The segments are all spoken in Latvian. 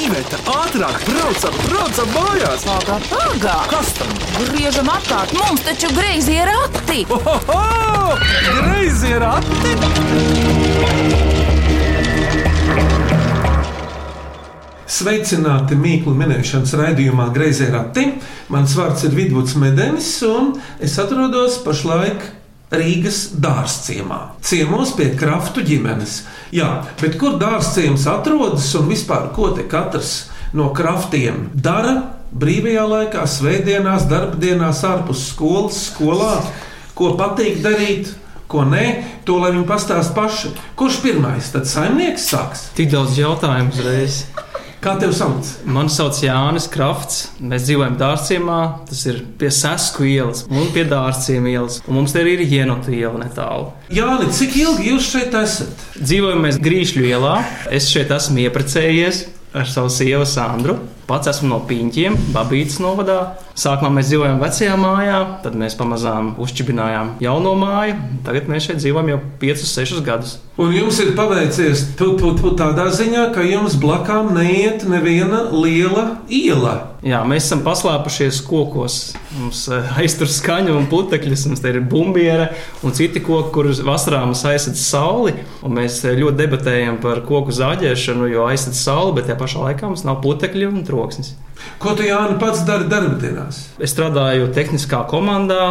Iveta, ātrāk, braucam, braucam mājās! Pagā, pagā! Kas tam? Griežam apkārt, mums taču greizi ir rati! Oh, Ohoho! Greizi ir atti! Sveicināti mīklu minēšanas raidījumā Greizē Rati. Mans vārds ir Vidvuds Medenis, un es atrodos pašlaik Rīgas dārzciemā. Ciemos pie kraftu ģimenes. Jā, bet kur dārzciems atrodas un vispār ko te katrs no kraftiem dara brīvajā laikā, svētdienās, darbdienās, ārpus skolas, skolā, ko patīk darīt, ko nē, to lai viņi pastāsta paši. Kurš pirmais? Tad saimnieks sāks. Tik daudz jautājumu uzreiz. Kā tev sauc? Mani sauc Jānis Krafts. Mēs dzīvojam dārciemā, tas ir pie Sasku ielas un pie dārciem ielas. Un mums te arī ir ienotu iela netālu. Jāni, cik ilgi jūs šeit esat? Dzīvojam mēs Grīšļu ielā. Es šeit esmu iepriecējies ar savu sievu Sandru. Pats esmu no Piņķiem, Babītas novadā. Sākumā mēs dzīvojām vecajā mājā, tad mēs pamazām uzčibinājām jauno māju. Tagad mēs šeit dzīvojam jau 5, 6 gadus. Un jums ir paveicies tu, tu, tu, tādā ziņā, ka jums blakām neiet neviena liela iela. Jā, mēs esam paslēpušies kokos. Mums eh, aiztur skaņu un putekļus, mums te ir bumbiņa un citi koki, kurus vasarā mums aizsēž sauli. Un mēs eh, ļoti debatējam par koku zāģēšanu, jo aizsēž sauli, bet tajā pašā laikā mums nav putekļi un troksnis. Ko tu Jāni pats dari darbdienās? Es strādāju tehniskā komandā,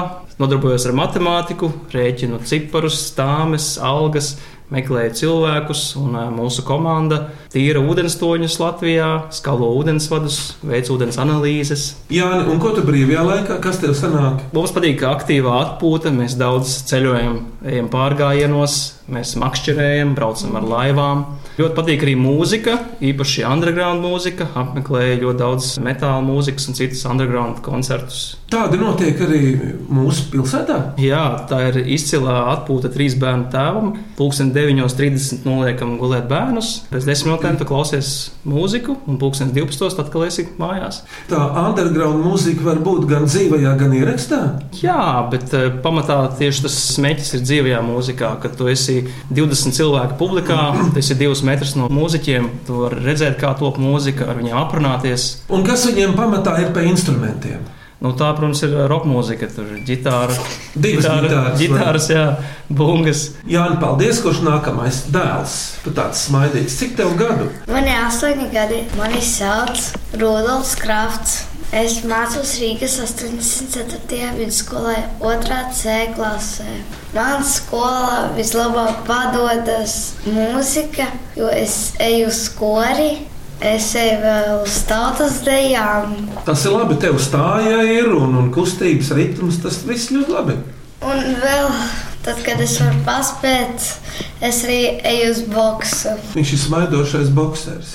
nodarbojos ar matemātiku, rēķinu ciparus, stāmes, algas. Meklēju cilvēkus, un eh, mūsu komanda tīra ūdenstoņus Latvijā, skalo ūdensvadus, veic ūdens analīzes, Jāni, un ko tu brīvajā laikā, kas tev sanāk? Mums patīk aktīvā atpūta. Mēs daudz ceļojam, ejam pārgājienos, mēs makšķerējam, braucam ar laivām. Ļoti patīk arī mūzika, īpaši underground mūzika. Apmeklēju ļoti daudz metāla mūzikas un citas underground koncertus. Tādi notiek arī mūsu pilsētā. Jā, tā ir izcila atpūta trīs bērnu tēvam. Pūkstens 9.30 noliekam gulēt bērnus, pēc 10 minūtēm tu klausies mūziku, un pūkstens 12.00 atkal esi mājās. Tā underground mūzika var būt gan dzīvajā, gan ierakstā. Jā, bet eh, pamatā tieši tas smēķis ir dzīvajā mūzikā, kad tu esi 20 cilvēku publikā, tas ir divas metras no mūziķiem. Tu vari redzēt, kā top mūzika, ar viņiem aprunāties. Un kas viņiem pamatā ir pa instrumentiem? Nu, tā, protams, ir roka mūzika, tur ir ģitāra, Divas ģitāra, ģitāras, ģitāras jā, bungas. Jāni, paldies, kurš nākamais dēls. Tu tāds smaidīgs. Cik tev gadu? Man ir astoņi gadi. Mani sauc Rudolfs Krafts. Es mācos Rīgas 84. vidusskolē, 2. C klasē. Manā skolā vislabāk padodas mūzika, jo es eju uz skori, es eju vēl uz tautas dejām. Tas ir labi, tev stājā ir un, un kustības ritms. Tas viss ļoti labi. Un vēl, tad, kad es varu paspēt, es arī eju uz boksu. Viņš ir smaidošais boxers.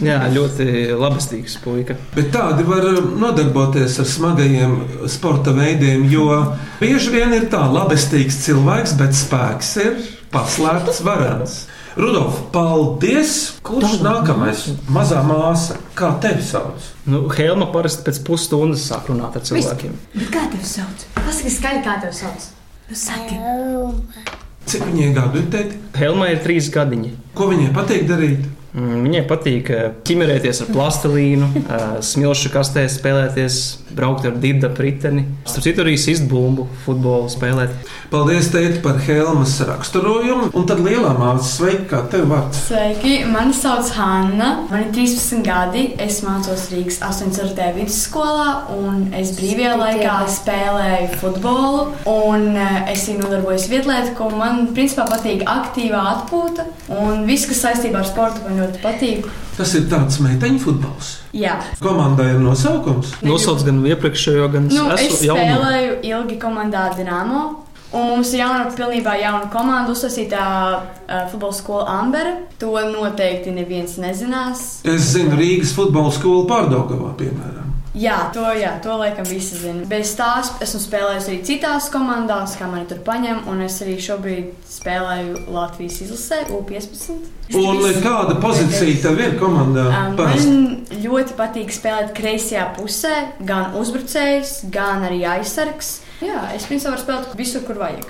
Jā, ļoti labestīgs puika. Bet tādi var um, nodarboties ar smagajiem sporta veidiem, jo bieži vien ir tā labestīgs cilvēks, bet spēks ir paslēpts varans. Rudolf, paldies! Kurš nākamais? Mazā māsa, kā tevi sauc? Nu, Helma parasti pēc pusstundas sāk runāt ar cilvēkiem. Bet kā tev sauc? Pasaki skaļi, kā tev sauc. Nu, saki. Cik viņai gadu ir teikt? Helma ir trīs gadiņi. Ko viņai patīk darīt? Mm, Viņai patīk eh, ķimerēties ar plastelīnu, eh, smilšu kastē spēlēties, braukt ar dibda priteni. Starp citu, arī sist bumbu, futbolu spēlēt. Paldies, teikt, par Helmas raksturojumu. Un tad lielā māsa, sveika, kā tev vārds. Sveiki, mani sauc Hanna. Man ir 13 gadi. Es mācos Rīgas 8. vidusskolā, un es brīvajā laikā spēlēju futbolu. Un eh, es arī nodarbojos vietlietu, ko man principā patīk aktīvā atpūta. Un viss, kas saistībā ar sportu, man ļoti patīk. Tas ir tāds meiteņu futbols. Jā, Komandai ir nosaukums. Nosauc gan iepriekšējo, gan nu, es esu jauno. spēlēju ilgi komandā Dienāmo. Un mums ir jauna, pilnībā jauna komanda, uzsāstīta uh, futbola skola Ambera. To noteikti neviens nezinās. Es zinu Rīgas futbola skolu pārdagavā, piemēram. Jā, to, jā, to laikam visi zina. Bez tās esmu spēlējis arī citās komandās, kā man tur paņem, un es arī šobrīd spēlēju Latvijas izlasē, U15. Un kāda pozīcija tev ir komandā? Um, Parasti. Man ļoti patīk spēlēt kreisajā pusē, gan uzbrucējs, gan arī aizsargs. Jā, es principā varu spēlēt visur, kur vajag.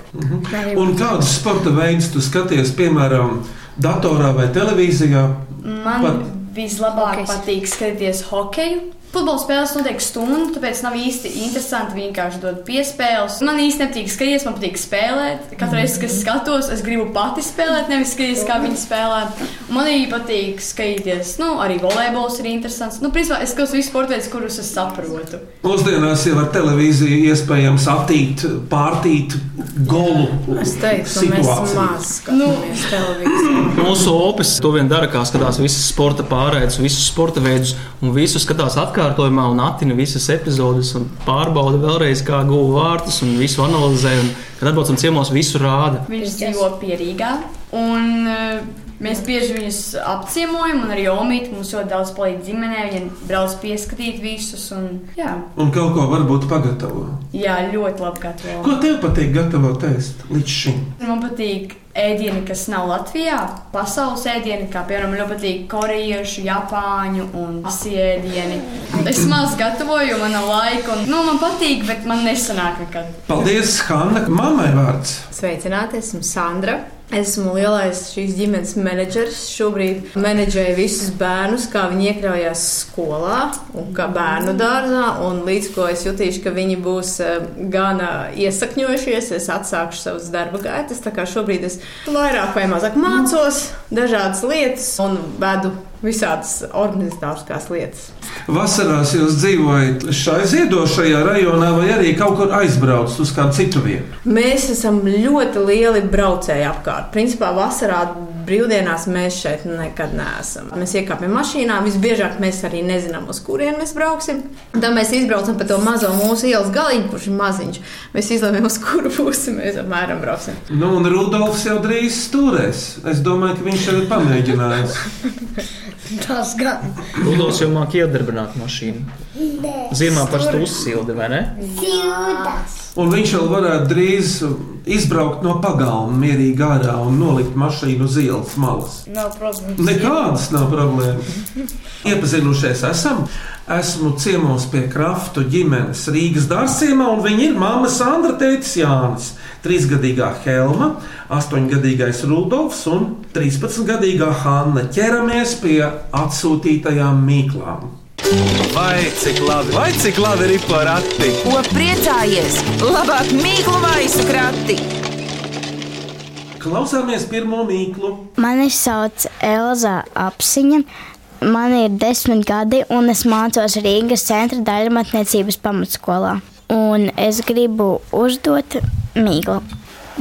Un kādus sporta veidus tu skaties, piemēram, datorā vai televīzijā? Man Pat- vislabāk Hokejs. patīk skatīties hokeju. Futbola spēles notiek stundu, tāpēc nav īsti interesanti vienkārši dot piespēles. Man īsti nepatīk skatīties, man patīk spēlēt. Katru reizi, kad es skatos, es gribu pati spēlēt, nevis skatīties, kā viņi spēlē. Un Man arī patīk skatīties, nu, arī volejbols ir interesants. Nu, principā es skatos visus sporta veidus, kurus es saprotu. Mūsdienās jau ar televīziju iespējams attīt, pārtīt golu. Es teiktu, ka mēs maz skatāmies televīziju. Mūsu opis to vien dara, kā skatās visas sporta pārēdes, visus sporta veidus, un visu skatās atkārtojumā, un attina visas epizodes, un pārbauda vēlreiz, kā guva vārtus, un visu analizē. Un, kad atbraucam ciemos, visu rāda. Viņš dzīvo Pierīgā. Un, eh, Mēs bieži viņus apciemojam, un arī Omīte mums ļoti daudz palīdz ģimenē. Viņa brauc pieskatīt visus. Un, jā, Un kaut ko varbūt pagatavo. jā, ļoti labi gatavo. Ko tev patīk gatavot ēst līdz šim? Man patīk ēdieni, kas nav Latvijā, pasaules ēdieni, kā piemēram, man ļoti patīk korejiešu, japāņu un asiju ēdieni. Es maz gatavoju, jo man nav laika, un nu, man patīk, bet man nesanāk nekad. Paldies, Hanna. Mammai vārds. Sveicināti, esmu Sandra. Esmu lielais šīs ģimenes menedžers. Šobrīd menedžēju visus bērnus, kā viņi iekļaujās skolā un kā bērnu dārzā. Un līdz ko es jutīšu, ka viņi būs eh, gana iesakņojušies, es atsākšu savas darba gaitas. Tā kā šobrīd es vairāk vai mazāk mācos dažādas lietas un vedu visādas organizatoriskās lietas. Vasarās jūs dzīvojat šai ziedošajā rajonā vai arī kaut kur aizbraucat uz kādu citu vietu? Mēs esam ļoti lieli braucēji apkārt. Principā vasarā brīvdienās mēs šeit nekad neesam. Mēs iekāpjam mašīnā, visbiežāk mēs arī nezinām, uz kurien mēs brauksim. Tad mēs izbraucam pa to mazo mūsu ielas galiņu, kurš ir maziņš. Mēs izlemjam, uz kuru pusi mēs apmēram brauksim. Nu, un Rudolfs jau drīz stūrēs. Es domāju, ka viņš jau ir pamēģinājis. Tas gan. Rudolfs jau māca iedarbināt mašīnu. Ziemā parasti uzsilda, vai ne? Un viņš jau varētu drīz izbraukt no pagalma, mierīgi gārā un nolikt mašīnu uz ielas malas. Nav problēmas. Nekādas nav problēmas. Iepazinušies esam. Esmu ciemos pie Kraftu ģimenes Rīgas dārziemā, un viņi ir mamma Sandra, tētis Jānis, 3-gadīgā Helma, 8-gadīgais Rudolfs un 13-gadīgā Hanna. Ķeramies pie atsūtītajām mīklām. Vai cik labi, vai cik labi ir porakti? Ko priecājies? Labāk mīklu maisu krati! Klausāmies pirmo mīklu. Mani sauc Elza Apsiņa. Man ir desmit gadi, un es mācos Rīgas centra daļramatniecības pamatskolā. Un es gribu uzdot mīklu.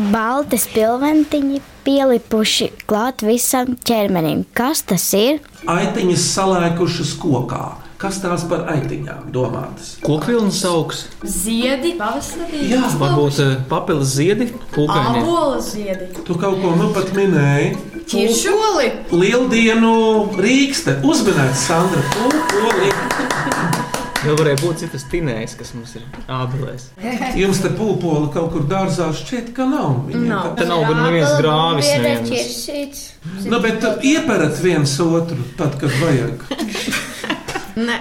Balti spilventiņi pielipuši klāt visam ķermenim. Kas tas ir? Aitiņas salēkušas kokā. Kas tās par aitiņām domātas? Kokvilnis augs, Ziedi, pavasarī, Jā, varbūt eh, papildus ziedi, pūkaini. apelsīna ziedi. Tu kaut ko nu pat minēji. Ķiršoli! Lieldienu rīkste uzminēt Sandra. Pūkoli. Vēl varēja būt citas tinējas, kas mums ir ābelēs. Jums te pūpola kaut kur dārzā šķiet, ka nav. Viņiem Nav. Te nav gan neviens grāvis, neviens. tā- Nu, bet ieperat viens otru, tad, kad vajag. Nē,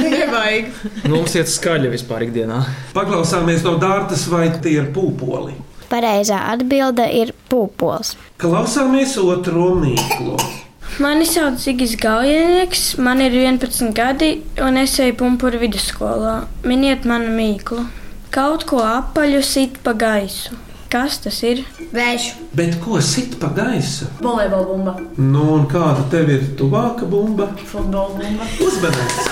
nevajag. Nu, mums iet skaļi vispār ikdienā. Paklausāmies no dārtas, vai tie ir pūpoli. Pareizā atbilde ir pūpols. Klausāmies otro mīklu. Mani sauc Zigis Gaujenieks, man ir 11 gadi un es eju pumpuru vidusskolā. Miniet manu mīklu. Kaut ko apaļu sit pa gaisu. Kas tas ir? Vējš. Bet ko sit pa gaisu? Volejbola bumba, Nu, un kāda tev ir tuvāka bumba? futbola bumba. Uzmanīgs!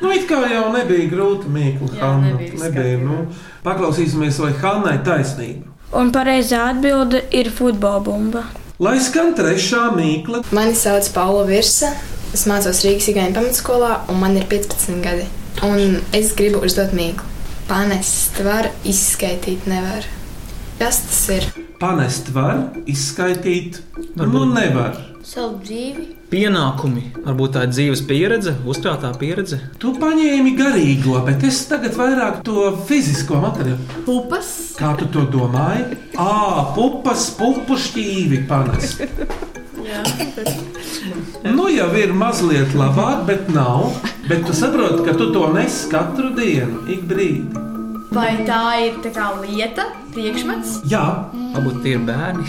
Nu, it kā jau nebija grūti mīklu, Jā, Hanna. nebija Nebija, skaidri. nu. Paklausīsimies, vai Hannai taisnība. Un pareizā atbilde ir futbola bumba. Lai skan trešā mīkla, Mani sauc Paula Virsa. Es mācos Rīgas Igaunijas pamatskolā, un man ir 15 gadi. Un es gribu uzdot mīklu. Panest var izskaidrot, nevar. Kas tas ir? panest var, izskaidrot, nu Varbūt. nevar. Savu dzīvi. Pienākumi, varbūt tā ir dzīves pieredze, uzkrātā pieredze. Tu paņēmi garīgo, bet es tagad vairāk to fizisko materiālu. Pupas, Kā tu to domāji? Ā, pupas, pupu šķīvi panest. Nu, jau ir mazliet labāk, bet nav. Bet tu saproti, ka tu to nes katru dienu, ik brīdi. vai tā ir tā kā lieta, priekšmets? Jā, Varbūt tie ir bērni.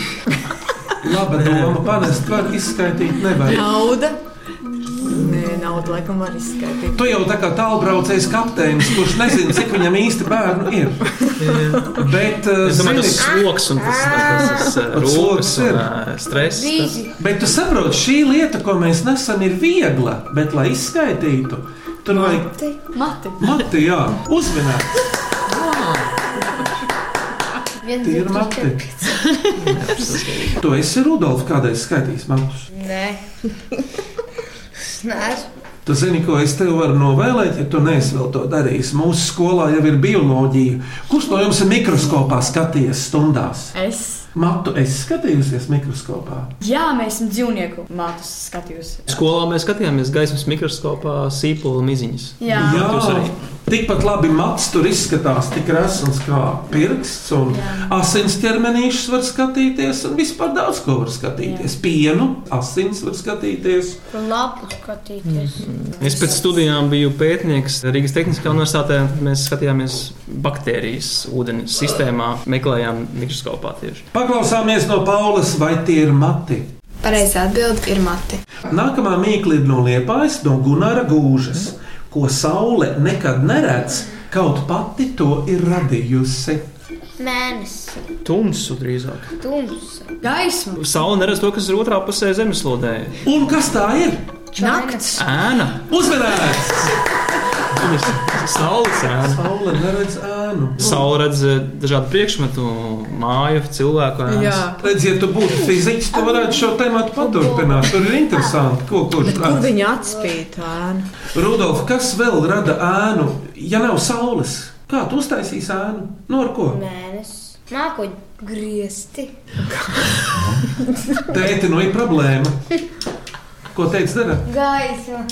Laba doma panest var izskaitīt nevar. Nauda. Nē, nauda laikam var izskaidrot. Tu jau tā kā tālbraucējs kapteinis, kurš nezina, cik viņam īsti bērnu ir. Bet, eh, Es domāju, tas zini, sloks un tas, tas, tas Bet rūpes sloks ir. un ā, stress. Tas. Bet tu saproti, šī lieta, ko mēs nesam, ir viegla, bet, lai izskaitītu, tur vajag Mati. mati, jā, uzmanīt. Tie ir mati. Tu esi Rudolf, kādreiz skaitījis matus. Nē, nē, Tu zini, ko es tev varu novēlēt, ja tu neesi vēl to darījis. Mūsu skolā jau ir bioloģija. Kurš no jums ir mikroskopā skatījies stundās? Es. Matu es skatījusies mikroskopā. Jā, mēs esam dzīvnieku mātus skatījusi. Skolā mēs skatījāmies gaismas mikroskopā sīpolu miziņas. Jā. Jā, Jūs arī. Tikpat labi mats tur izskatās, tik resns kā pirksts, un asins ķermenīšus var skatīties, un vispār daudz ko var skatīties. Pienu, asins var skatīties. labi skatīties. Es pēc studijām biju pētnieks Rīgas Tehniskajā universitātē. tad Mēs skatījāmies baktērijas ūdens sistēmā, meklējām mikroskopā tieši. Paklausāmies no Paulas, vai tie ir mati. Pareizā atbilde ir mati. Nākamā mīkla ir no liepājas, no Gunara gūžas, ko saule nekad neredz, kaut pati to ir radījusi. Mēnesis, Tumsu drīzāk. tums, Gaisma. Saula neredz to, kas ir otrā pusē zemeslodē. Un kas tā ir? nakts, Ēna. Uzmanīgs! Viņas saules ēna. Saule neredz ēnu. Saula redz eh, dažādu priekšmetu, māju, cilvēku ēnas. Jā. Redz, ja tu būtu fiziķis, tu varētu šo tēmu paturpināt. Tur ir interesanti, ko kurš Bet kur tāds viņa atspīd ēnu? - Rudolf, kas vēl rada ēnu, ja nav saules? Kā tu uztaisīsi ēnu? No ar ko? mēnesis, mākoņi, griezti, Tēti, no ir problēma. Ko teica Dara? gaisma,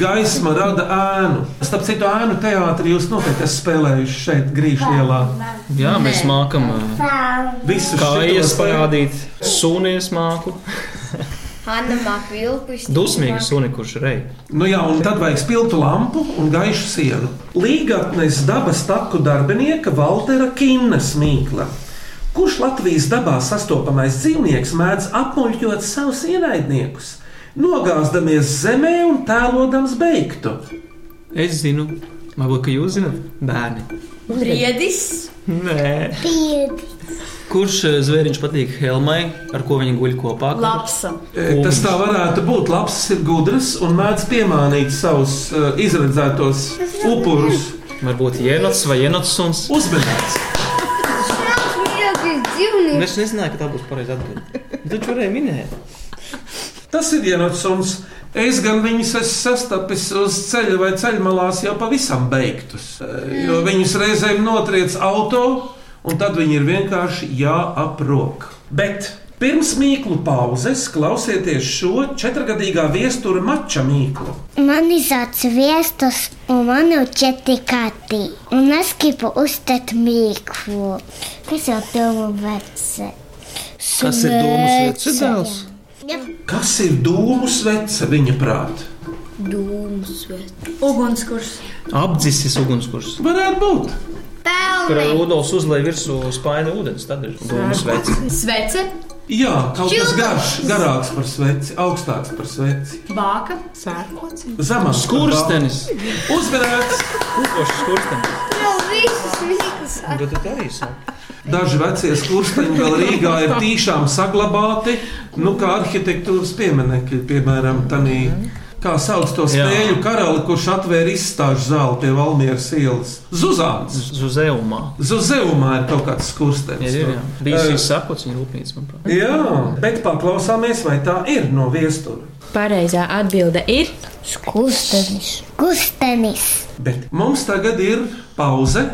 Gaisma rada ēnu. Starp citu, ēnu teātrī jūs noteikti esat spēlējuši šeit, Grīžņielā. Jā, mēs mākam eh, Visu kājas parādīt, sunies māku. Hanna māk vilkus. Dusmīgi suni, kurš rei. Nu jā, un tad vajag spilgtu lampu un gaišu sienu. Līgatnes dabas taku darbinieka Valtera Kinnas mīkla. Kurš Latvijas dabā sastopamais dzīvnieks mēdz apmuļķot savus ienaidniekus, nogāzdamies zemē un tēlodams beigtu? Es zinu, varbūt, ka jūs zinat, bērni. Briedis. Nē. Piedi. Kurš eh, zvēriņš patīk Helmai, ar ko viņi guļ kopā? Lapsa. E, Tas tā varētu būt. Labs ir gudrs un mēdz piemānīt savus uh, izredzētos upurus. Varbūt Jēnots vai Jēnots suns. Uzmanīgs! Mīļākais dzīvnieks. Nu, Es nezināju, ka tā būs pareizā atbildība. Taču varēja minēt. Tas ir ienācums. Es gan viņus esmu sastapis uz ceļa vai ceļmalās jau pavisam beigtus. Eh, Jo viņus reizēm notriec auto, un tad viņi ir vienkārši jāaprok. Bet pirms mīklu pauzes klausieties šo četrgadīgā viestura mača mīklu. Mani sauc Viestus, un man ir četri kati. Un es gribu uzstāt mīklu. Kas jau domu vecē? Kas ir Dūmas vecidēls? Kas ir dūmu svece viņa prātā? Ugunskurs. Apdzisis ugunskurs. Varētu būt. Kur Rudolfs uzlēja virsū spaini ūdens, tad ir dūmas vecis. Svece. Jā, kaut kas garš, garāks par sveci, augstāks par sveci. Bāka. Sērkots. Zemāks Skurstenis. Uzmanīgs! Kūpošs skurstenis. Jau visas mīklas. Bet tu arī saki. Daži veci skursteņi vēl Rīgā ir tīšām saglabāti, nu, kā arhitektūras pieminekļi, piemēram, tādā. Kā sauc to Jā. spēļu karali, kurš atvēra izstāžu zāli pie Valmieras ielas? Zuzāns! Zuzeumā. Zuzeumā ir kaut kāds skurstenis. Jā, jā, jā. tur. Bija Eh, šis sakots viņa rūpnīca, manuprāt. Jā, bet paklausāmies, vai tā ir no viestura. Pareizā atbilde ir Skustenis. Skustenis. Bet mums tagad ir pauze,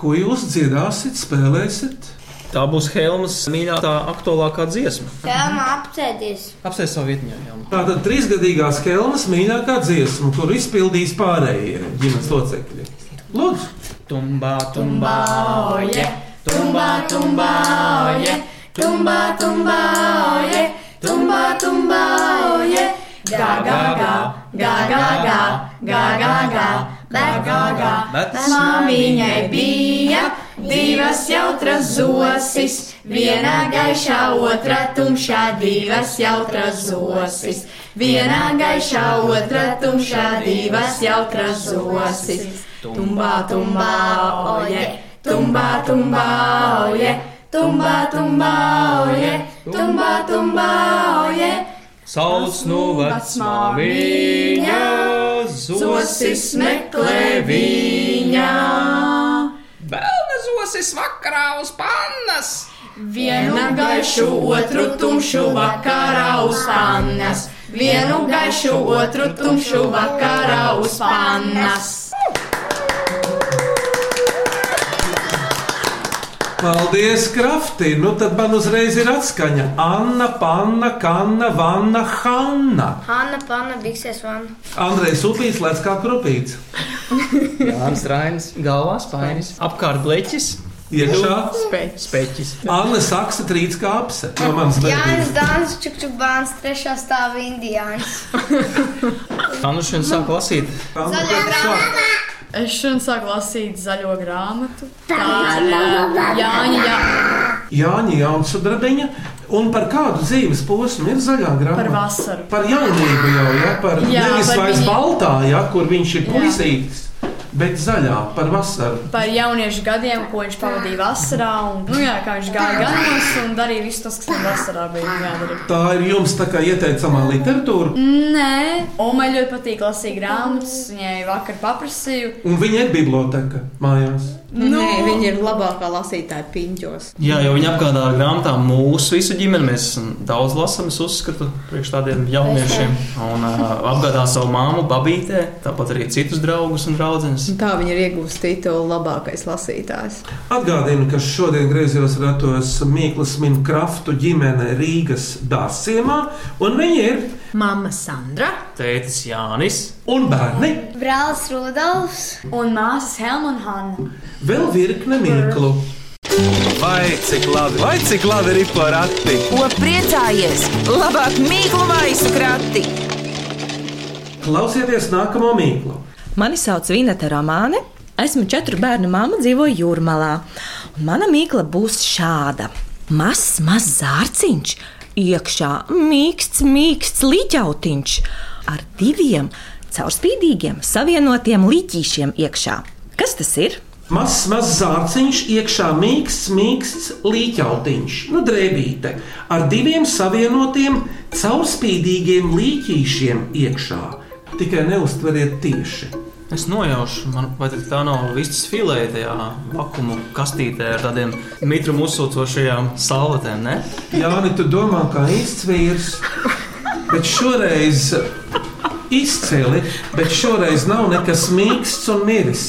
ko jūs dziedāsiet, spēlēsiet. Tā būs Helmas mīļākā, aktuālākā dziesma. Tēmā apsēdies. Apsēs savu vietņā, Helma. Tātad trīsgadīgās Helmas mīļākā dziesma, kuru izpildīs pārējie ģimenes locekļi. Lūdzu! Tumbā, tumbā, Oje. Tumbā, tumbā, oje. Tumbā, tumbā, oje. Tumbā, tumbā, oje. Gā, gā, gā. Gā, gā, gā. Gā, gā, gā. Gā, gā, gā. bet Māmiņai bija divas jautras zosis, vienā gaišā, otrā tumšā, divas jautras zosis, vienā gaišā, otrā tumšā, divas jautras zosis. Tumbā, tumbā, oje, tumbā, tumbā, oje, tumbā, tumbā, oje, tumbā, tumbā, oje. Sauc no vecmāmiņa, Zosis meklē viņa. Pelna zosis vakarā uz pannas. Vienu gaišu, otru tumšu vakarā uz pannas. Vienu gaišu, otru tumšu vakarā uz pannas. Paldies, Krafti! Nu, tad man uzreiz ir atskaņa. Anna, Panna, Kanna, Vanna, Hanna. Hanna, Panna, Biksēs, Vanna. Andrejs Upīts, Lēts kā krupīts. Jānis Rainis, galvā spainis, apkārt bleķis. Iekšā speķis. Anna saksa trīc kā apse. No manas Jānis bērnības. Dānis, Čukčukbāns, trešā stāva indiānis. Anna šodien sāk lasīt. Zaļā grāmata. Es šodien sāku lasīt zaļo grāmatu. Tā ir eh, Tā. Jāņa, jā, Jāņa Jaunsudrabiņa. Un par kādu dzīves posmu ir zaļā grāmata? par vasaru. Par jaunību jau, ja? Par Jā, nevis par vairs viņu- baltā, ja? Kur viņš ir Jā. puisītis, bet zaļā par vasaru. Par jauniešu gadiem, ko viņš pavadīja vasarā. Un, nu jā, kā viņš gāja ganos un darīja visu to, kas viņam vasarā bija jādara. Tā ir jums tā kā ieteicamā literatūra. Nē, Oma ļoti patīk lasīt grāmatas. Viņai vakar paprasīju. Un viņa ir biblioteka mājās. Nu. Nē, viņa ir labākā lasītāja piņķos. Jā, jau viņi apgādā ar grāmatām mūsu visu ģimeni. Mēs esam daudz lasām, es uzskatu, priekš tādiem jauniešiem. Un uh, apgādā savu māmu, babītē, tāpat arī citus draugus un draugus. Un tā viņa ir iegūsta titulu labākais lasītājs. Atgādinu, ka šodien griezījos ratos Mikls Minkraftu ģimene Rīgas dārciemā, un viņi ir Mama Sandra. Tētis Jānis. un bērni Brālis Rudolfs un māsas Helma un Hanna. vēl virkne Miklu. Vai cik labi, vai cik labi ir porakti? Ko priecājies? Labāk mīklu maisu krati! Klausieties nākamo mīklu. Mani sauc Vineta Romāne. Esmu četru bērnu māma, dzīvoju jūrmalā. Un mana mīkla būs šāda. Mazs, mazs zārciņš, iekšā mīksts, mīksts līķautiņš ar diviem caurspīdīgiem savienotiem līķīšiem iekšā. Kas tas ir? Mazs, mazs zārciņš, iekšā mīksts, mīksts līķautiņš, nu drēbīte, ar diviem savienotiem, caurspīdīgiem līķīšiem iekšā. Tikai neustveriet tieši. Es nojaušu, man, vai tad tā nav vistas filē, tajā vakuuma kastītē ar tādiem mitrumu uzsūcošajām salvetēm. Ne? Jāni, tu domā, kā īsts vīrs, bet šoreiz izcili, bet šoreiz nav nekas mīksts un miris.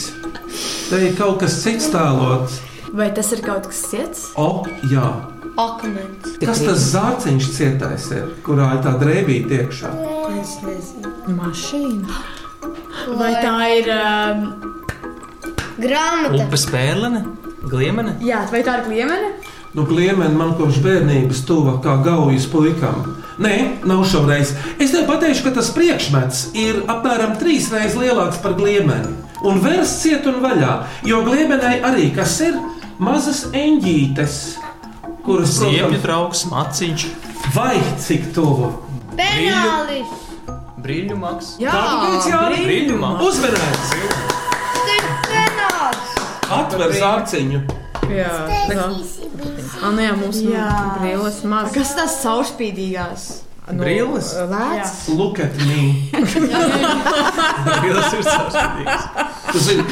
Te ir kaut kas cits tēlots. Vai tas ir kaut kas cits? O, jā. Akmens. Kas tas zārciņš cietais ir, kurā ir tā drēbīte iekšā? Es nezinu. Mašīna. Vai tā ir. Um, Grāmata. Upes pērlene, gliemene. Jā, vai tā ir gliemene? Nu, gliemeni man kopš bērnības tuva kā gaujas puikam. Nē, nav šoreiz. Es tev pateikšu, ka tas priekšmets ir apmēram trīs reizes lielāks par gliemeni. Un vērs ciet un vaļā, jo gliemenei arī kas ir mazas eņģītes, kuras Ziemju trauks, maciņš. Vai cik tuvu? Penāli! Penālis! Brīļumaks. Jā, Tāpēc, Jāni, brīļumaks. Uzmanīgs! Penālis! Atver zārciņu! Jā, tā Anna, jā, mums jā. Jā. brīlis maz. Kas tas saurspīdīgās? Brīlis? Lēts. Look at me! Tas ir savs. Tu zini,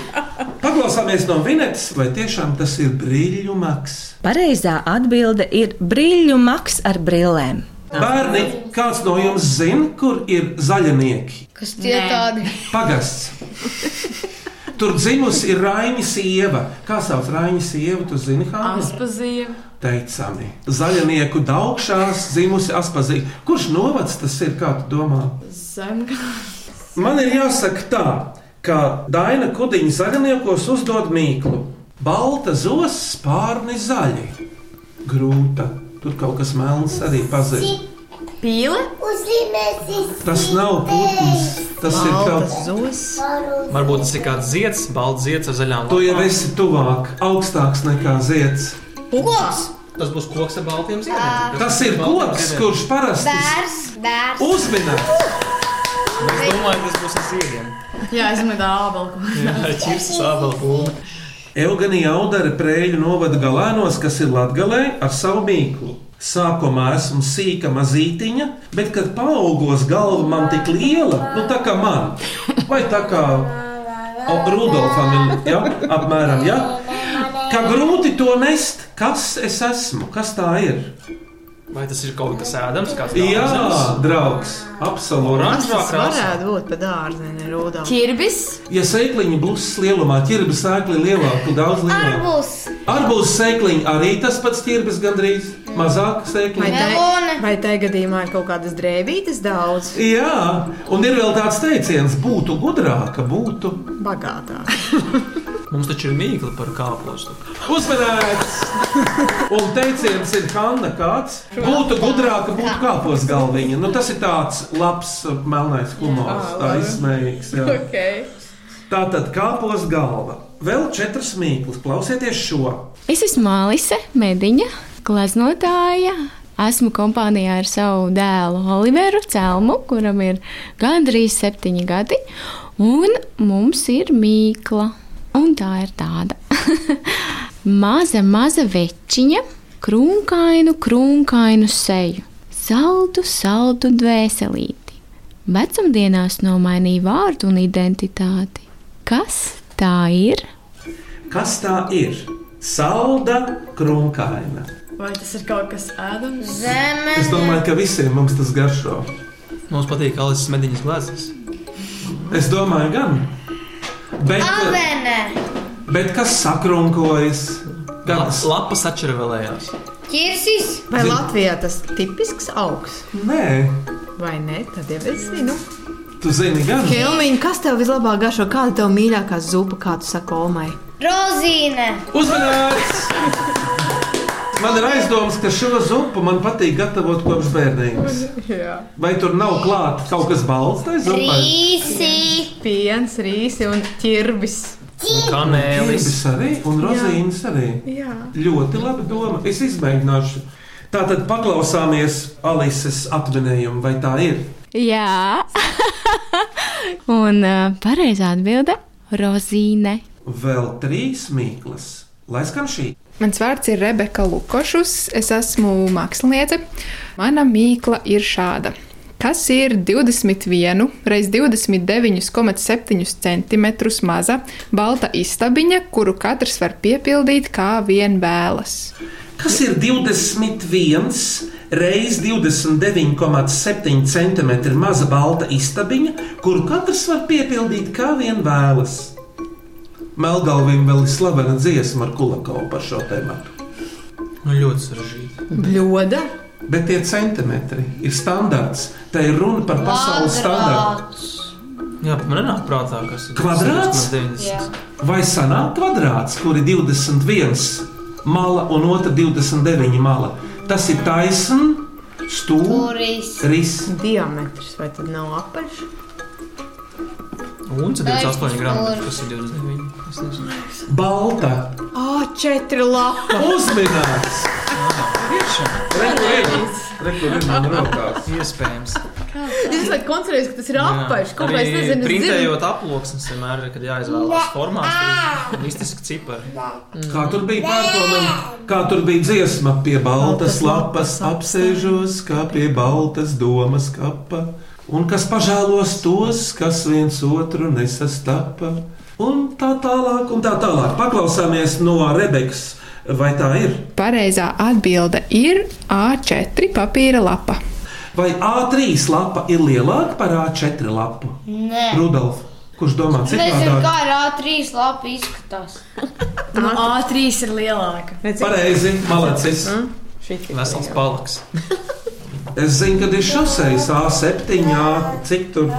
Paklausāmies no vinetes, vai tiešām tas ir brīļumaks. Pareizā atbilde ir brīļumaks ar brillēm. Bērni, kāds no jums zina, kur ir zaļnieki? Kas tie tādi? Pagasts. Tur dzimusi ir Raina sieva. Kā sauc Raina sievu? Tu zini, kā Aspazīme. Teicami, zaļnieku daugšās dzimusi aspazīte. Kurš novads tas ir, kā tu domā? Zemgājas. Man ir jāsaka tā, ka Daina Kudiņa zaļniekos uzdod mīklu. Balta zosis, pārni zaļi. Grūta. Tur kaut kas melns arī pazīst. Pīle? Tas nav putns. Tas ir tavs. zosis. Varbūt tas ir kāds zieds, balts zieds ar zaļām Tu jau esi tuvāk, augstāks nekā zieds. koks. Tas būs koks ar baltiem ziediem. Tas ir koks, kurš parasti Bērs, bērs. uzminēts. Es domāju, tas būs ar ziediem. Jā, es domāju, tā ābala. Eugenija Audara prēļu novada galēnos, kas ir latgalē ar savu mīklu. Sākumā esmu sīka mazītiņa, bet kad paaugos galva man tik liela, nu tā kā man, vai tā kā o- Rudolfam, ir, ja? apmēram, ja? ka grūti to nest, kas es esmu, kas tā ir. Vai tas ir kaut kas ēdams, kāds Jā, dārzenis? draugs, Tas absolūti. varētu būt pa dārziņu, rūdā. Ķirbis. Ja sēkliņa blūzs lielumā, ķirba sēkli lielāka, daudz lielāka. Arbūs. Arbūs sēkliņa arī tas pats ķirbis gandrīz, mazāk Vai sēkliņa. tai, vai tai gadījumā ir kaut kādas drēbītes daudz? Jā, un ir vēl tāds teiciens, būtu gudrāka, būtu Bagātāk. Mums taču ir mīkla par kāpostu. uzmanīgs. Un teiciens ir Hanna kāds. Būtu gudrāka, būtu kāpos galviņa. Nu, tas ir tāds labs uh, melnais humors, Jā, tā Ah, labi. izsmējīgs. jā. Okay. Tā tad kāpos galva. Vēl četras mīklas, klausieties šo. Es esmu Mālise, mediņa, gleznotāja. Esmu kompānijā ar savu dēlu Oliveru Celmu, kuram ir gandrīz septiņi gadi. Un mums ir mīkla. Un tā ir tāda maza, maza večiņa, krunkainu, krunkainu seju, saldu, saldu dvēselīti. Vecumdienās nomainīja vārdu un identitāti. Kas tā ir? Kas tā ir? Salda krunkaina. Vai tas ir kaut kas ēdams? Zeme. Es domāju, ka visiem mums tas garšo. Mums patīk Alisas mediņas glāzes. Es domāju, gan. Bet, uh, Avene. Bet kas sakrunkojas? Kādas lapas atšķirvēlējās? Kirsis. Vai Zini- Latvijā tas tipisks augs? Nē, Vai ne? Tad jau es zinu. tu zini, gan. Helmiņ, kas tev vislabāk garšo? Kāda tev mīļākā zupa, kā tu saki, Olmai? Rozīne. Uzmanīgs! Man ir aizdoms, ka šo zupu man patīk gatavot kopš bērnības. Jā. Vai tur nav klāta kaut kas balsts? tai zupai? Rīsi! Piens, rīsi un ķirbis. Kanēlis. Ķirbis arī un rozīnes arī. Jā. Ļoti labi doma. Es izmēģināšu. Tātad paklausāmies Alises atminējumu, vai tā ir? Jā, un uh, pareizā atbilde - rozīne. Vēl trīs mīklas, lai skan šī. Mans vārds ir Rebeka Lukošus, es esmu māksliniece. Mana mīkla ir šāda. Kas ir 21 x 29,7 cm maza balta istabiņa, kuru katrs var piepildīt kā vien vēlas? Kas ir 21 reizes 29,7 cm maza balta istabiņa, kuru katrs var piepildīt kā vien vēlas? Melngalvim vēl ir slavena dziesma ar kulakovu par šo tēmu. Nu, ļoti sarežģīti. Bļoda. Bet tie centimetri ir standarts. Tā ir runa par pasaules standartu. Jā, bet man nenāk prātā, kas ir Kvadrāts? 90. Vai sanāk kvadrāts, kur ir 21 mala un otra 29 mala? Tas ir taisnība, stūris, risks. Diametrs vai tad nav apaļš? Un 28 gramus, kas ir 29. Es nezinu. Balta, Ā, četri lapa. uzmanīgs! Iespējams. Es tikai koncentrējos, ka tas ir Jā. apaļš. Kaut kā es Arī nezinu, es Printējot aploksnes, vienmēr, kad jāizvēlas formāts, ir mistiski cipari. Kā tur bija pārdomāta? Kā tur bija dziesma, pie baltas lapas apsēžos, kā pie baltas domas kapa. Un kas pažēlos tos, kas viens otru nesastapa. Un tā tālāk, un tā tālāk. Paklausāmies no Rebekas, vai tā ir? Pareizā atbilde ir A4 papīra lapa. Vai A3 lapa ir lielāka par A4 lapu? Nē. Rudolf, kurš domā Es nezinu, kā citādi? ir A3 lapa izskatās. Nu, A3 ir lielāka. Pareizi, malacis. Vesels palaks. Es zinu, kad ir šoseis A7, A, cik tur.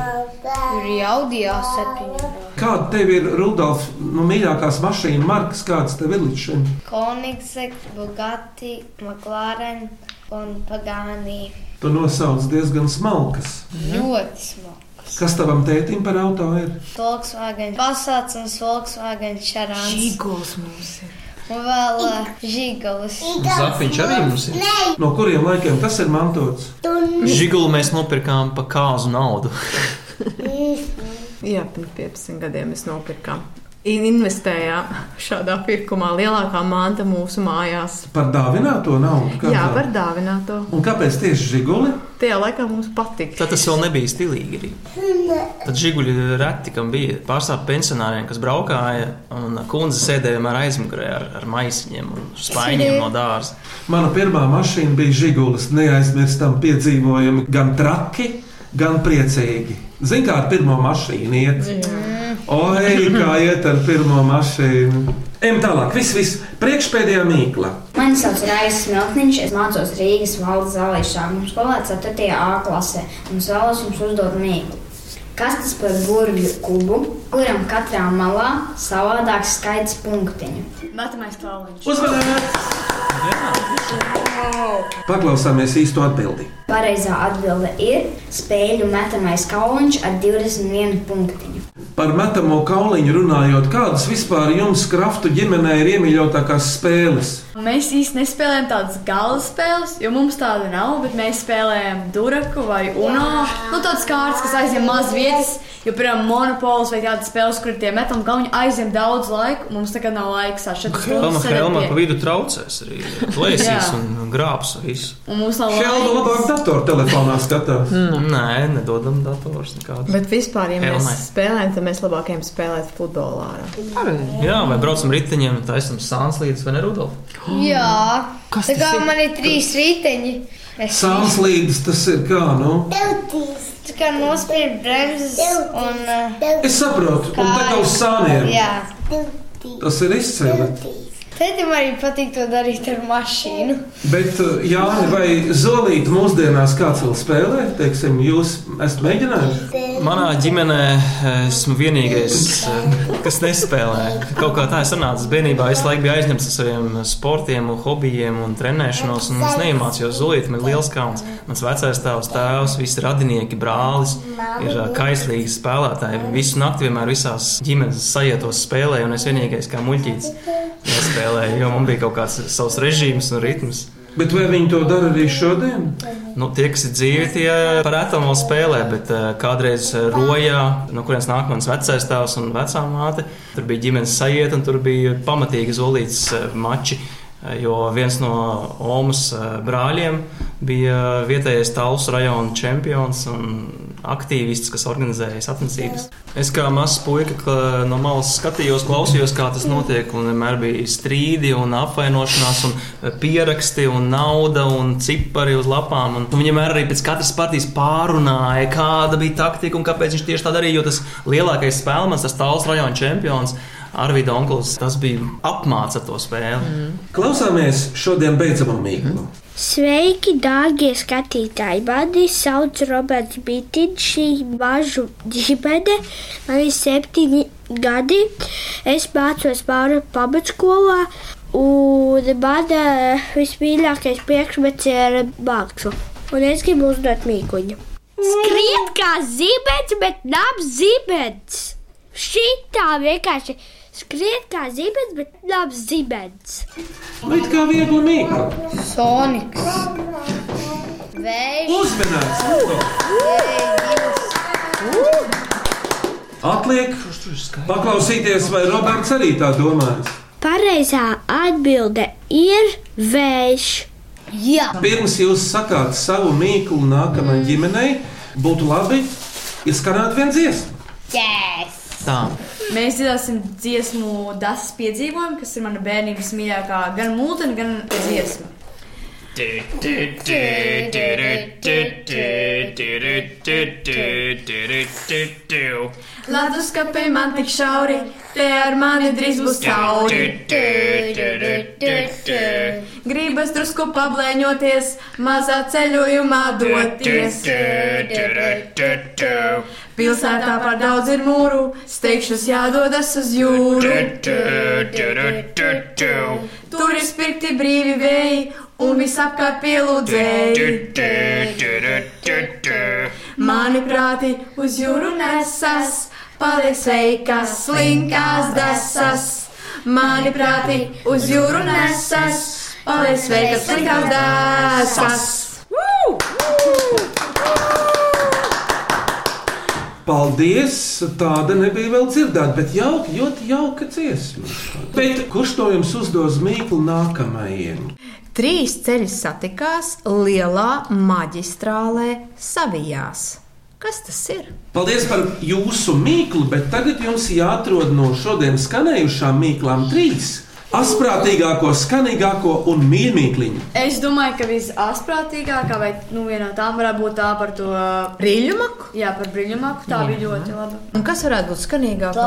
Tur ir Audi A7. Kāda tev ir Rudolf, nu, mīļākās mašīnas markas, kādas tev ir līdz šim? Koenigsegg, Bugatti, McLaren un Pagani. Tu nosauc diezgan smalkas. Mhm. Ļoti smags. Kas tavam tētim par auto ir? Volkswagen Passats un Volkswagen Charants. Žīgols mums ir. Un vēl uh, ā, žīgols. Zafiņš arī mums ir. No kuriem laikiem tas ir mantots? Žiguli mēs nopirkām pa kāzu naudu. Jā, pirms 15 gadiem mēs nopirkām. In- Investējām šādā pirkumā lielākā manta mūsu mājās. Par dāvināto naudu. kā Jā, tā? par dāvināto. Un kāpēc tieši žiguli? Tajā laikā mums patika. Tad tas vēl nebija stilīgi. Arī. Tad žiguļi reti, kam bija pārstāvji pensionāriem, kas braukāja un kundze sēdēja vienmēr aizmugurē ar, ar maisiņiem un spaiņiem no dārza. Mana pirmā mašīna bija žigulis. Neaizmirstam piedzīvojumi gan traki, gan priecīgi. Ziniet, kā ar pirmo mašīnu iet? Oi, kā iet ar pirmo mašīnu? Ejam tālāk, viss, viss priekšpēdējā mīkla. Mani sauc Raisa Smiltniņš, es mācos Rīgas valdes zālēs sākuma skolā 4. A klasē un es vēlos jums uzdot mīklu. Kas tas par burbuļu kubu, kuram katrā malā savādāks skaits punktiņu? Matemātiskā lauciņa. Uzmanības! Paklausāmies īsto atbildi. Pareizā atbilde ir spēļu metamais kauliņš ar 21 punktiņu. Par metamo kauliņu runājot, kādas vispār jums kraftu ģimenē ir iemīļotākās spēles? Mēs īstenībā nespēlējam tādas galvas spēles, jo mums tāda nav, bet mēs spēlējam duraku vai uno. Nu, tādas kārtas, kas aizņem maz vietas, jo, piemēram, monopols vai tādas spēles, kur tie metam galviņu aizņem daudz laika, mums tagad nav laiks atšķirt. Helma, Helma pa vidu traucēs arī. Plēsīs Jā. un grābs visu. Un mums nav Helga laika. labāk datortelefonā skatās. Mm. Nē, nedodam dators nekādus. Bet vispār, ja mēs Elmai. spēlējam, tad mēs labākajiem spēlēt futbolā. Jā, vai braucam riteņiem, taisam sānslīdes vai ne, Rudolf? Jā, tā kā man ir trīs riteņi. Es Sānslīdes tas ir kā, nu? Tā kā nospiež bremzes un. ā, Es saprotu, un tā kā uz sāniem. Jā. Tas ir izcili. Tētim arī patīk to darīt ar mašīnu. Bet, uh, Jāni, vai zolīti mūsdienās kāds vēl spēlē? Teiksim, jūs esat mēģinājuši? Manā ģimenē eh, esmu vienīgais, eh, kas nespēlē. Kaut kā tā es nācu bērnībā, es laikam biju aizņemts ar saviem sportiem, un hobijiem un trenēšanos, un es neiemācījos zulīt, man ir liels kauns. Mans vecais tēvs, tēvs, visi radinieki, brālis ir ā, kaislīgi spēlētāji. Visu nakti vienmēr visās ģimenes sajietos spēlēja, un es vienīgais kā muļķīts nespēlēju, jo man bija kaut kāds savs režīms un ritms. Bet vai viņi to dara arī šodien? Nu, tie, kas ir dzīvi, tie parētam vēl spēlē, bet eh, kādreiz eh, rojā, no kurienes nāk mans vecais tēvs un vecā māte, tur bija ģimenes sajiet, un tur bija pamatīgi zolīts eh, mači. eh, Jo viens no Omas eh, brāļiem bija eh, vietējais Talus rajona čempions un aktīvists, kas organizēja sacensības. Es kā mazs puika ka- no malas skatījos, klausījos, kā tas notiek. un Vienmēr bija strīdi, un apvainošanās, un eh, pieraksti, un nauda, un cipari uz lapām. Un viņi vienmēr arī pēc katras partijas pārunāja, kāda bija taktika un kāpēc viņš tieši tā darīja. Jo tas lielākais spēlētājs, tas tāls rajona čempions, Arvīds Onkls, tas bija apmācīts to spēli. Mm. Klausāmies šodien beidzamā mīklu. Sveiki, dārgie skatītāji! Mani sauc Roberts Bitīns, šī mažu ģimene. Man ir septiņi gadi. Es mācos pāri pamatskolā, un man eh, vismīļākais priekšmets ir māksla. Un es gribu uzdot mīkluņu. Skriet kā zibens, bet nav zibens. Šī tā vienkārši skriet kā zibens, bet nav zibens. Bet kā viegli mīklu. Soniks. Vējš. Uzmanīgs! Atliek paklausīties, vai Roberts arī tā domājas. Pareizā atbilde ir vējš. Jā, Pirms jūs sakāt savu mīklu nākamajai ģimenei, būtu labi izskanēt viens dziesmu. Yes! Tā. Mēs dzirdēsim dziesmu Dasas piedzīvojumu, kas ir mana bērnības mīļākā gan mūtene, gan dziesma. Latvijas kapī man tik šauri, te ar mani drīz būs cauri. Gribas drusku pablēņoties, mazā ceļojumā doties. Pilsētā par daudz ir mūru, steigšus jādodas uz jūru. Tur ir spirti brīvi vēji un visapkārt pielūdzēji. Mani prāti uz jūru nesas, paliek sveikas, slinkās desas. Mani prāti uz jūru nesas, paliek sveikas, slinkās desas. Paldies! Tāda nebija vēl dzirdēta, bet jauka, ļoti jauka dziesma. Bet kurš to jums uzdos mīklu nākamajiem? Trīs ceļi satikās lielā maģistrālē savijās. Kas tas ir? Paldies par jūsu mīklu, bet tagad jums jāatrod no šodienas skanējušām mīklām trīs. Asprātīgāko, skanīgāko un mīlīgāko. Es domāju, ka visāsprātīgākā vai nu, viena no tām varētu būt tā par to brīļumaku. Jā, par brīļumaku. Tā Jā. bija ļoti laba. Un kas varētu būt skanīgākā?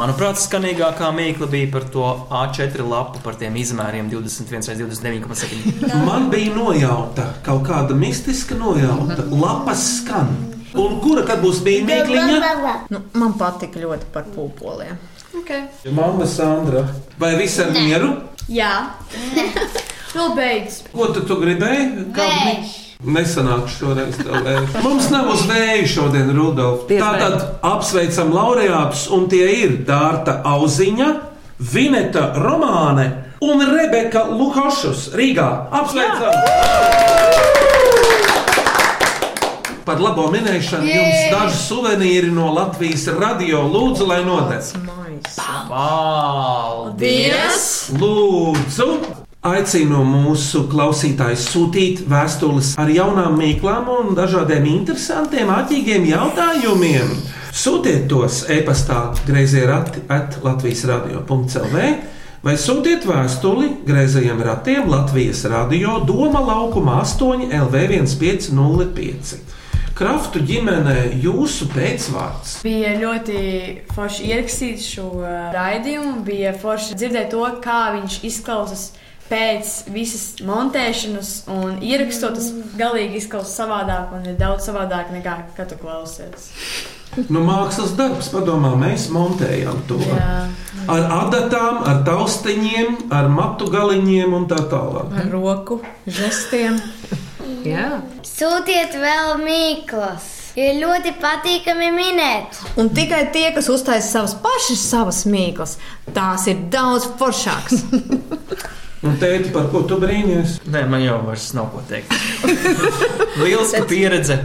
Manuprāt, skanīgākā mīkla bija par to A4 lapu, par tiem izmēriem 21 līdz 29,7. Man bija nojauta, kaut kāda mistiska nojauta. Lapas skan. Un kura tad būs mīlīgākā? Nu, man patīk ļoti par pūpoliem. Okay. Māma Sandra, vai viss ar mieru? Jā, vēl beidz. Ko tu, tu gribēji? Kādu mi- Nesanāks šoreiz. tev vēju. Mums nav uz vēju šodien, Rudolf. Tātad apsveicam laureātus, un tie ir Dārta Auziņa, Vineta Romāne un Rebeka Lukašus Rīgā. Apsveicam! Par labo minēšanu jums Jē! daži suvenīri no Latvijas radio. Lūdzu, lai notiek! Paldies! Lūdzu! Aicinu mūsu klausītājus sūtīt vēstules ar jaunām mīklām un dažādiem interesantiem, ātriem jautājumiem. Sūtiet tos e-pastā grazējot at Latvijas radio.cl. Vai sūtiet vēstuli grazējiem ratiem Latvijas radio Doma laukuma 8 LV1505. Kraftu ģimenē jūsu pēcvārds. Bija ļoti forši ierakstīt šo ā, raidījumu, bija forši dzirdēt to, kā viņš izklausās pēc visas montēšanas un ierakstot. Tas Mm. galīgi izklausās savādāk un ir daudz savādāk nekā kad tu klausies. Nu, mākslas darbs, padomā, mēs montējam to. Jā. Ar adatām, ar taustiņiem, ar matu galiņiem un tā tālāk. Ar roku žestiem. Jā. Sūtiet vēl mīklas, jo ļoti patīkami minēt. Un tikai tie, kas uztaisa savas pašas savas mīklas, tās ir daudz foršākas. Un teikt, par ko tu brīnīties? Nē, man jau vairs nav ko teikt. Lieliska pieredze,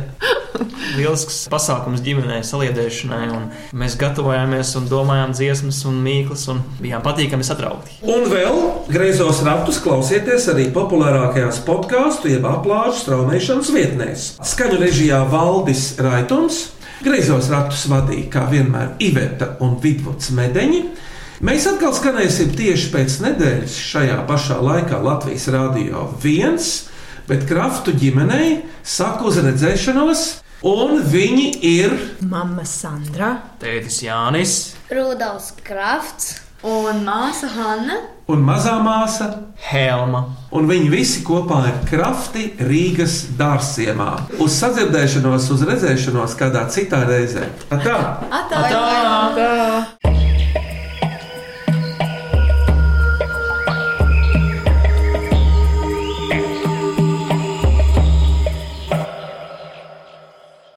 lielisks pasākums ģimenei, saliedēšanai. un Mēs gatavojāmies un domājām dziesmas un mīklas un bijām patīkami satraukti. Un vēl griezos ratus klausieties arī populārākajās podkāstu, jeb aplāžu straumēšanas vietnēs. Skaņu režijā Valdis Raitons, griezos ratus vadīja kā vienmēr Iveta un Vidvuds Medeņi. Mēs atkal skanēsim tieši pēc nedēļas šajā pašā laikā Latvijas Rādio 1, bet Kraftu ģimenei saka uz redzēšanos, un viņi ir Mama Sandra. Tētis Jānis, Rudals Krafts un māsa Hanna. un mazā māsa Helma. Un viņi visi kopā ir krafti Rīgas dārziemā. Uz sadzirdēšanos, uz redzēšanos kādā citā reizē. Tā! Atā! Atā! Atā!